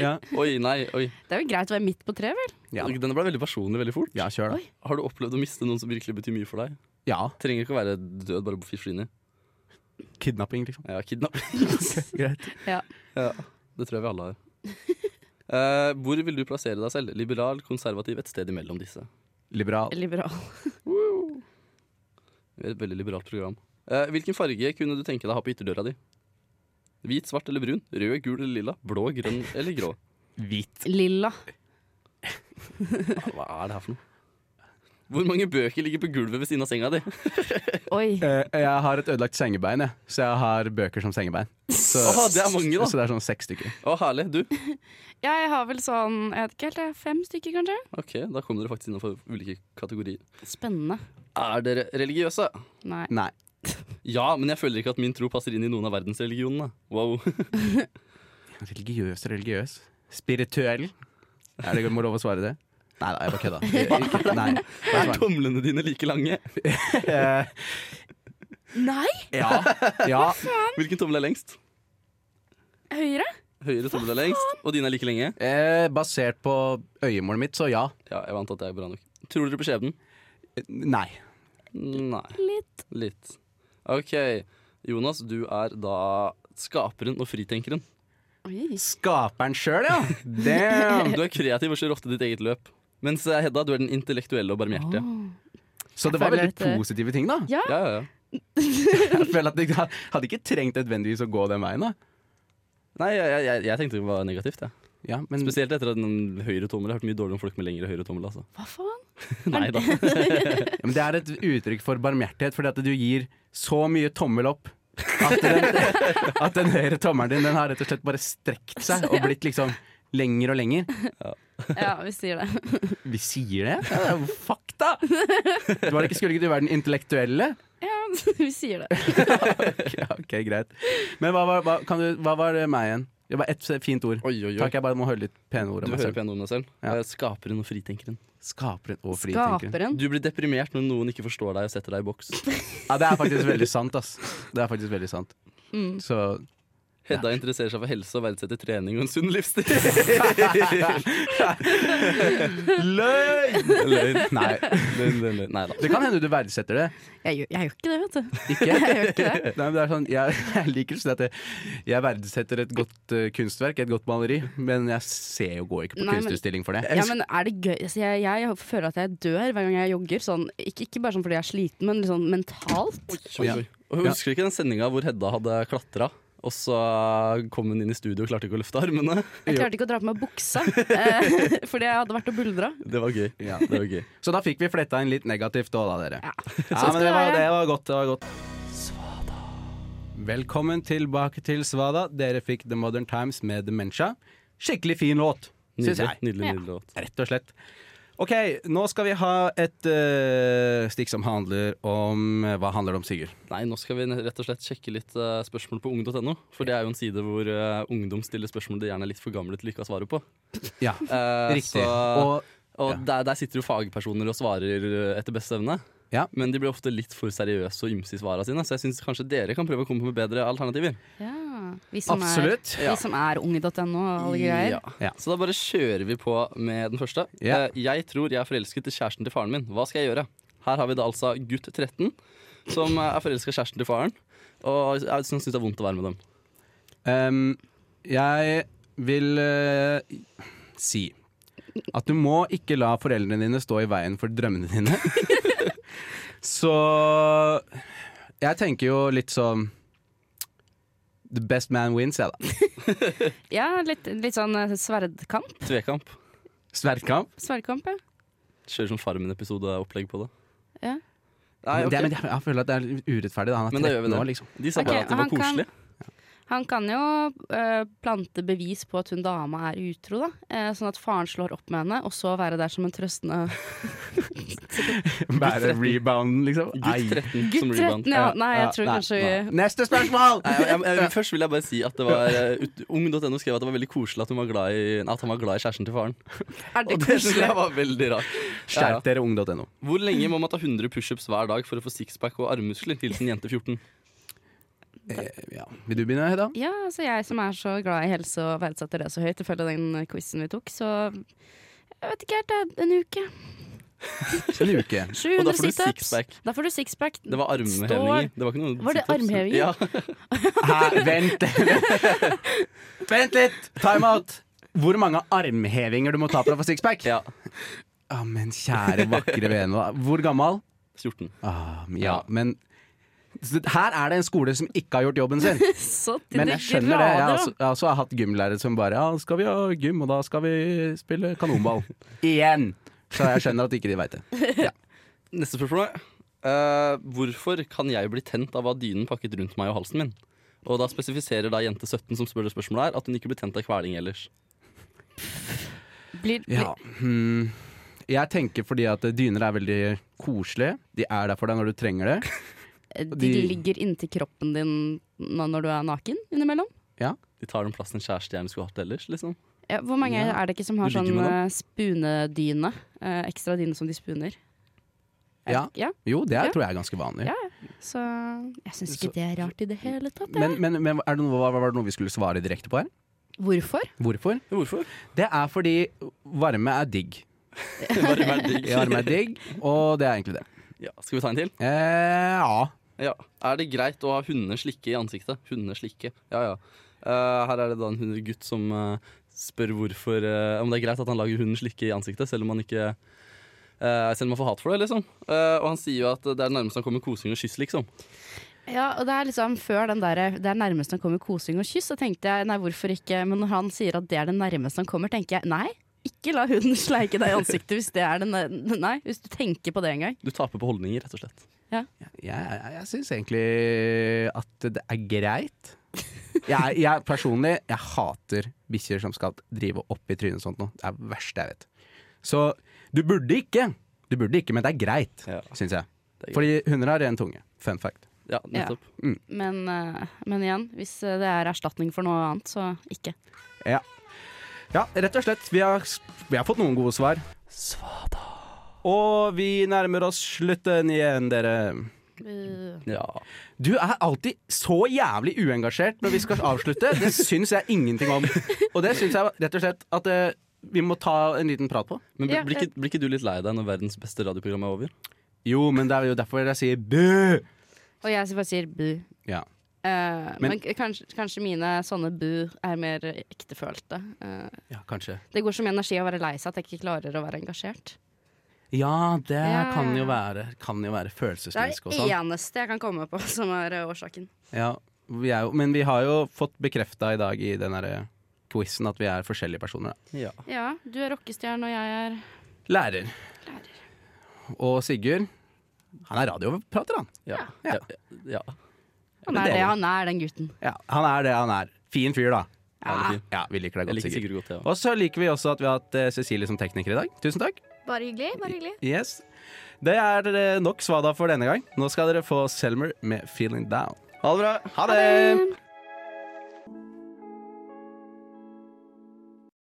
Speaker 5: ja.
Speaker 3: Oi, nei, oi.
Speaker 7: Det er jo greit å være midt på tre, vel?
Speaker 5: Ja.
Speaker 3: Denne ble veldig personlig veldig fort.
Speaker 5: ja, kjør da.
Speaker 3: Har du opplevd å miste noen som virkelig betyr mye for deg?
Speaker 5: Ja.
Speaker 3: Trenger ikke å være død, bare på forsvinne.
Speaker 5: Kidnapping, liksom.
Speaker 3: Ja, kidnapp.
Speaker 5: Greit.
Speaker 7: Ja.
Speaker 3: Det tror jeg vi alle har. Eh, hvor vil du plassere deg selv? Liberal, konservativ, et sted imellom disse?
Speaker 5: Liberal.
Speaker 7: Liberal.
Speaker 3: Vi er Et veldig liberalt program. Eh, hvilken farge kunne du tenke deg å ha på ytterdøra di? Hvit, svart eller brun? Rød, gul eller lilla? Blå, grønn eller grå?
Speaker 5: Hvit.
Speaker 7: Lilla.
Speaker 3: Hva er det her for noe? Hvor mange bøker ligger på gulvet ved siden av senga di?
Speaker 7: Oi.
Speaker 5: Eh, jeg har et ødelagt sengebein, jeg. så jeg har bøker som sengebein. Så,
Speaker 3: Åh, det er mange, da.
Speaker 5: så det er sånn seks stykker.
Speaker 3: Å, herlig. Du?
Speaker 7: Jeg har vel sånn, jeg vet ikke helt, jeg, fem stykker kanskje?
Speaker 3: Ok, da kommer dere faktisk innenfor ulike kategorier.
Speaker 7: Spennende.
Speaker 3: Er dere religiøse?
Speaker 7: Nei.
Speaker 5: Nei.
Speaker 3: Ja, men jeg føler ikke at min tro passer inn i noen av verdensreligionene. Wow.
Speaker 5: Religiøs, religiøs. Spirituell. Er det må lov å svare det? Nei da, jeg bare kødda. Ikke- Nei.
Speaker 3: Er tomlene dine like lange?
Speaker 5: Eh,
Speaker 7: Nei?
Speaker 5: ja. ja.
Speaker 3: Hvilken tommel er lengst?
Speaker 7: Høyre?
Speaker 3: Høyre tommel er lengst, og dine er like lenge?
Speaker 5: Eh, basert på øyemålet mitt, så ja.
Speaker 3: Ja, jeg vant at det er bra nok. Tror dere på skjebnen?
Speaker 5: Eh, Nei.
Speaker 3: Nei.
Speaker 7: Litt.
Speaker 3: Litt. OK. Jonas, du er da skaperen og fritenkeren.
Speaker 7: Oi.
Speaker 5: Skaperen sjøl, ja! Damn!
Speaker 3: Du er kreativ og slår ofte ditt eget løp. Mens eh, Hedda, du er den intellektuelle og barmhjertige.
Speaker 5: Så det var veldig
Speaker 3: eh,
Speaker 5: positive ting, da.
Speaker 7: Ja.
Speaker 3: Ja, ja, ja.
Speaker 5: Jeg føler at jeg hadde ikke trengt nødvendigvis å gå den veien, da.
Speaker 3: Nei, jeg, jeg, jeg tenkte det var negativt. jeg.
Speaker 5: Ja, men
Speaker 3: Spesielt etter at den høyre tommel. Jeg har hørt mye dårlig om folk med lengre høyre tommel. Altså.
Speaker 7: Hva faen?
Speaker 3: Nei da.
Speaker 5: Ja, Men det er et uttrykk for barmhjertighet, fordi at du gir så mye tommel opp at den, at den høyre tommelen din den har rett og slett bare strekt seg og blitt liksom lenger og lenger.
Speaker 7: Ja, vi sier det.
Speaker 5: Vi sier det? Ja, det er jo fakta! Du var ikke, skulle ikke du være den intellektuelle?
Speaker 7: Ja, vi sier det.
Speaker 5: Ja, ok, greit. Men hva var, hva, kan du, hva var det meg igjen? Det var ett fint ord.
Speaker 3: Oi, oi, oi.
Speaker 5: Takk, jeg bare må høre litt pene ord
Speaker 3: Du
Speaker 5: om meg
Speaker 3: hører
Speaker 5: selv.
Speaker 3: pene ord om deg selv.
Speaker 5: Ja.
Speaker 3: Eh, Skaperen og fritenkeren.
Speaker 5: Skaperen og fritenkeren.
Speaker 7: Skaperen.
Speaker 3: Du blir deprimert når noen ikke forstår deg og setter deg i boks.
Speaker 5: Ja, det er faktisk veldig sant, ass. Det er faktisk veldig sant.
Speaker 7: Mm.
Speaker 5: Så
Speaker 3: Hedda interesserer seg for helse og verdsetter trening og en sunn livsstil.
Speaker 5: Løgn! Løgn. Nei.
Speaker 3: Nei da.
Speaker 5: Det kan hende du verdsetter det.
Speaker 7: Jeg gjør, jeg gjør ikke det, vet du.
Speaker 5: Ikke?
Speaker 7: Jeg gjør ikke det.
Speaker 5: Nei, men det er sånn, jeg, jeg liker sånn at jeg, jeg verdsetter et godt eh, kunstverk, et godt maleri, men jeg ser jo går ikke på
Speaker 7: Nei, men-
Speaker 5: kunstutstilling for det.
Speaker 7: Ja, men er det gøy? Altså, Jeg, jeg føler at jeg dør hver gang jeg jogger. Sånn, ikke, ikke bare sånn fordi jeg er sliten, men litt sånn mentalt.
Speaker 3: Oi, oi. Og Husker du ikke den sendinga hvor Hedda hadde klatra, og så kom hun inn i studio og klarte ikke å løfte armene?
Speaker 7: Jeg klarte ikke å dra på meg buksa eh, fordi jeg hadde vært og buldra.
Speaker 3: Det var gøy.
Speaker 5: Ja.
Speaker 3: Det var gøy.
Speaker 5: Så da fikk vi fletta inn litt negativt òg, da, dere.
Speaker 7: Ja.
Speaker 5: Ja, men det var, det var godt. Det var godt. Velkommen tilbake til Svada. Dere fikk The Modern Times med Dementia. Skikkelig fin låt, syns
Speaker 3: Nydelig,
Speaker 5: jeg.
Speaker 3: nydelig, nydelig låt.
Speaker 5: Rett og slett. OK, nå skal vi ha et eh, stikk som handler om eh, Hva handler det om, Sigurd?
Speaker 3: Nei, nå skal vi rett og slett sjekke litt eh, spørsmål på ung.no. For det er jo en side hvor eh, ungdom stiller spørsmål de gjerne er litt for gamle til ikke å svare på.
Speaker 5: Ja,
Speaker 3: Eh,
Speaker 5: riktig.
Speaker 3: Så,
Speaker 5: Og
Speaker 3: og
Speaker 5: ja.
Speaker 3: der, der sitter jo fagpersoner og svarer eh, etter beste evne.
Speaker 5: Ja.
Speaker 3: Men de blir ofte litt for seriøse og ymse i svara sine, så jeg syns kanskje dere kan prøve å komme med bedre alternativer.
Speaker 7: Ja. Vi som
Speaker 5: Absolutt.
Speaker 7: er, vi som er unge.no og alle greier.
Speaker 3: Ja. Så da bare kjører vi på med den første.
Speaker 5: Ja.
Speaker 3: Eh, Jeg tror jeg er forelsket i kjæresten til faren min. Hva skal jeg gjøre? Her har vi da altså gutt 13 som eh, er forelska i kjæresten til faren. Og jeg syns det er vondt å være med dem.
Speaker 5: Ehm, jeg vil eh, si at du må ikke la foreldrene dine stå i veien for drømmene dine. Så jeg tenker jo litt sånn The best man wins, jeg, da.
Speaker 7: Ja, litt, litt sånn eh, sverdkamp.
Speaker 3: Tvekamp.
Speaker 5: Sverdkamp.
Speaker 7: Sverdkamp, ja.
Speaker 3: Kjører sånn Farmen-episodeopplegg på det.
Speaker 7: Ja.
Speaker 3: Nei,
Speaker 5: Men det-
Speaker 3: ok.
Speaker 5: men jeg, jeg føler at det er urettferdig. Da. Han
Speaker 3: Men
Speaker 5: er
Speaker 3: da gjør
Speaker 5: 13
Speaker 3: vi det.
Speaker 5: år, liksom.
Speaker 3: De sa
Speaker 7: Ok,
Speaker 3: bare at det
Speaker 7: han
Speaker 3: var
Speaker 7: kan-
Speaker 3: koselig.
Speaker 7: Han kan jo eh, plante bevis på at hun dama er utro, da. Eh, sånn at faren slår opp med henne, og så være der som en trøstende
Speaker 5: Bære rebounden, liksom. Ai.
Speaker 3: Gutt 13
Speaker 7: Gutt
Speaker 3: som
Speaker 7: 13,
Speaker 3: rebound.
Speaker 7: ja. Nei, jeg tror
Speaker 5: nei,
Speaker 7: kanskje
Speaker 5: nei. Neste spørsmål!
Speaker 3: Nei, jeg, jeg, jeg, først vil jeg bare si at det var eh, ut- Ung.no skrev at det var veldig koselig at, hun var glad i, at han var glad i kjæresten til faren.
Speaker 7: Er det
Speaker 3: Og det synes
Speaker 7: koselig?
Speaker 3: jeg var veldig rart. Ja, ja.
Speaker 5: Skjerp dere, ung.no.
Speaker 3: Hvor lenge må man ta 100 pushups hver dag for å få sixpack og armmuskler? Hilsen jente 14.
Speaker 5: Eh, ja. Vil du begynne, Hedda?
Speaker 7: Ja, altså jeg som er så glad i helse og verdsetter det så høyt, ifølge den quizen vi tok, så jeg vet ikke helt, det er en uke.
Speaker 5: En uke.
Speaker 7: 700
Speaker 3: Og da får du
Speaker 7: situps.
Speaker 3: sixpack.
Speaker 7: Da får du sixpack.
Speaker 3: Det var armhevinger. Det var, ikke noe
Speaker 7: Var det
Speaker 3: situps.
Speaker 7: armhevinger?
Speaker 3: Ja.
Speaker 5: Hæ, vent Vent litt! Time out! Hvor mange armhevinger du må ta for å få sixpack?
Speaker 3: ja.
Speaker 5: Ah, men kjære, vakre vene. Hvor gammel?
Speaker 3: 14.
Speaker 5: Ah, ja, men så her er det en skole som ikke har gjort jobben sin.
Speaker 7: Så til
Speaker 5: Men
Speaker 7: de
Speaker 5: jeg skjønner det. altså, Jeg har
Speaker 7: grader, da.
Speaker 5: også, jeg har også hatt gymlærere som bare Ja, skal vi ha gym, og da skal vi spille kanonball. Igjen! Så jeg skjønner at ikke de veit det.
Speaker 3: Neste spørsmål er eh, Hvorfor kan jeg bli tent av å ha dynen pakket rundt meg og halsen min? Og da spesifiserer da jente 17 som spør det spørsmålet her, at hun ikke blir tent av kveling ellers.
Speaker 7: Blir, blir,
Speaker 5: Ja. Hmm. Jeg tenker fordi at dyner er veldig koselige. De er der for deg når du trenger det.
Speaker 7: eh, de,
Speaker 5: de-
Speaker 7: ligger inntil kroppen din nå når du er naken innimellom?
Speaker 3: De tar den plassen en kjæreste jeg skulle hatt ellers, liksom.
Speaker 7: Ja, hvor mange
Speaker 5: Ja.
Speaker 7: er det ikke som har
Speaker 3: Du ligger
Speaker 7: sånn
Speaker 3: med
Speaker 7: eh, spunedyne? Eh, ekstra dyne som de spuner? Er-
Speaker 5: Ja.
Speaker 7: ja.
Speaker 5: Jo, det
Speaker 7: Ja.
Speaker 5: tror jeg er ganske vanlig.
Speaker 7: Ja. Så jeg syns ikke
Speaker 5: Så-
Speaker 7: det er rart i det hele tatt. jeg.
Speaker 5: Men, men, men er det noe, var, var det noe vi skulle svare direkte på her?
Speaker 7: Hvorfor?
Speaker 5: Hvorfor?
Speaker 3: Hvorfor?
Speaker 5: Det er fordi varme er digg.
Speaker 3: Bare vær digg.
Speaker 5: Varme er digg, og det er egentlig det.
Speaker 3: Ja, skal vi ta en til?
Speaker 5: Eh, ja.
Speaker 3: Ja. Er det greit å ha hunder slikke i ansiktet? Hunder slikke. Ja, ja. Eh, her er det da en hundegutt som eh, spør hvorfor eh, om det er greit at han lager hunden slikke i ansiktet, selv om han ikke eh, selv om han får hat for det, liksom. Eh, og han sier jo at det er nærmest han kommer kosing og kyss, liksom.
Speaker 7: Ja, og det er liksom før den der, det er nærmest han kommer kosing og kyss, så tenkte jeg nei, hvorfor ikke? Men når han sier at det er det nærmeste han kommer, tenker jeg nei. Ikke la hunden sleike deg i ansiktet hvis det er det nær- Nei, hvis du tenker på det en gang.
Speaker 3: Du taper på holdninger, rett og slett.
Speaker 5: Jeg, jeg, jeg syns egentlig at det er greit. Jeg, jeg personlig jeg hater bikkjer som skal drive opp i trynet og sånt noe. Det er det verste jeg vet. Så du burde ikke. Du burde ikke, men det er greit,
Speaker 3: Ja.
Speaker 5: synes syns jeg.
Speaker 3: Det er greit.
Speaker 5: Fordi hunder har ren tunge. Fun fact.
Speaker 3: Ja, nettopp.
Speaker 7: Men, eh, men igjen, hvis eh, det er erstatning for noe annet, så ikke.
Speaker 5: Ja, rett og slett. Vi har, vi har fått noen gode svar. Og vi nærmer oss slutten igjen, dere.
Speaker 3: Ja.
Speaker 5: Du er alltid så jævlig uengasjert når vi skal avslutte. Det syns jeg ingenting om. Og det syns jeg rett og slett at eh, vi må ta en liten prat på.
Speaker 3: Men
Speaker 7: Ja,
Speaker 3: blir, blir, ikke, blir ikke du litt lei deg når verdens beste radioprogram er over?
Speaker 5: Jo, men det er jo derfor jeg sier bø!
Speaker 7: Og jeg bare sier bu.
Speaker 5: Ja.
Speaker 7: Eh, men
Speaker 5: Men-
Speaker 7: k- kanskje, kanskje mine sånne bu er mer ektefølte. Eh,
Speaker 5: Ja, kanskje.
Speaker 7: det går så mye energi å være lei seg at jeg ikke klarer å være engasjert.
Speaker 5: Ja, det
Speaker 7: Ja.
Speaker 5: kan jo være, kan jo være
Speaker 7: Det er
Speaker 5: følelseslensk og
Speaker 7: det
Speaker 5: sånn.
Speaker 7: eneste jeg kan komme på som er eh, årsaken.
Speaker 5: Ja, vi er jo, men vi har jo fått bekrefta i dag i den derre quizen at vi er forskjellige personer. da.
Speaker 3: Ja.
Speaker 7: Ja, du er rockestjerne, og jeg er
Speaker 5: Lærer. Og Sigurd, han er radioprater, han.
Speaker 3: Ja.
Speaker 5: Ja.
Speaker 3: ja. ja.
Speaker 7: Han er det han er, den gutten.
Speaker 5: Ja, han er det han er. Fin fyr, da.
Speaker 3: Herlig fyr.
Speaker 5: Ja, vi liker deg godt,
Speaker 3: Jeg liker
Speaker 5: Sigurd.
Speaker 3: Sigurd godt, jeg òg.
Speaker 5: Og så liker vi også at vi har hatt eh, Cecilie som tekniker i dag. Tusen takk.
Speaker 10: Bare hyggelig. bare hyggelig.
Speaker 5: Yes. Det er eh, nok svada for denne gang. Nå skal dere få Selmer med 'Feeling Down'. Ha det bra. Ha det.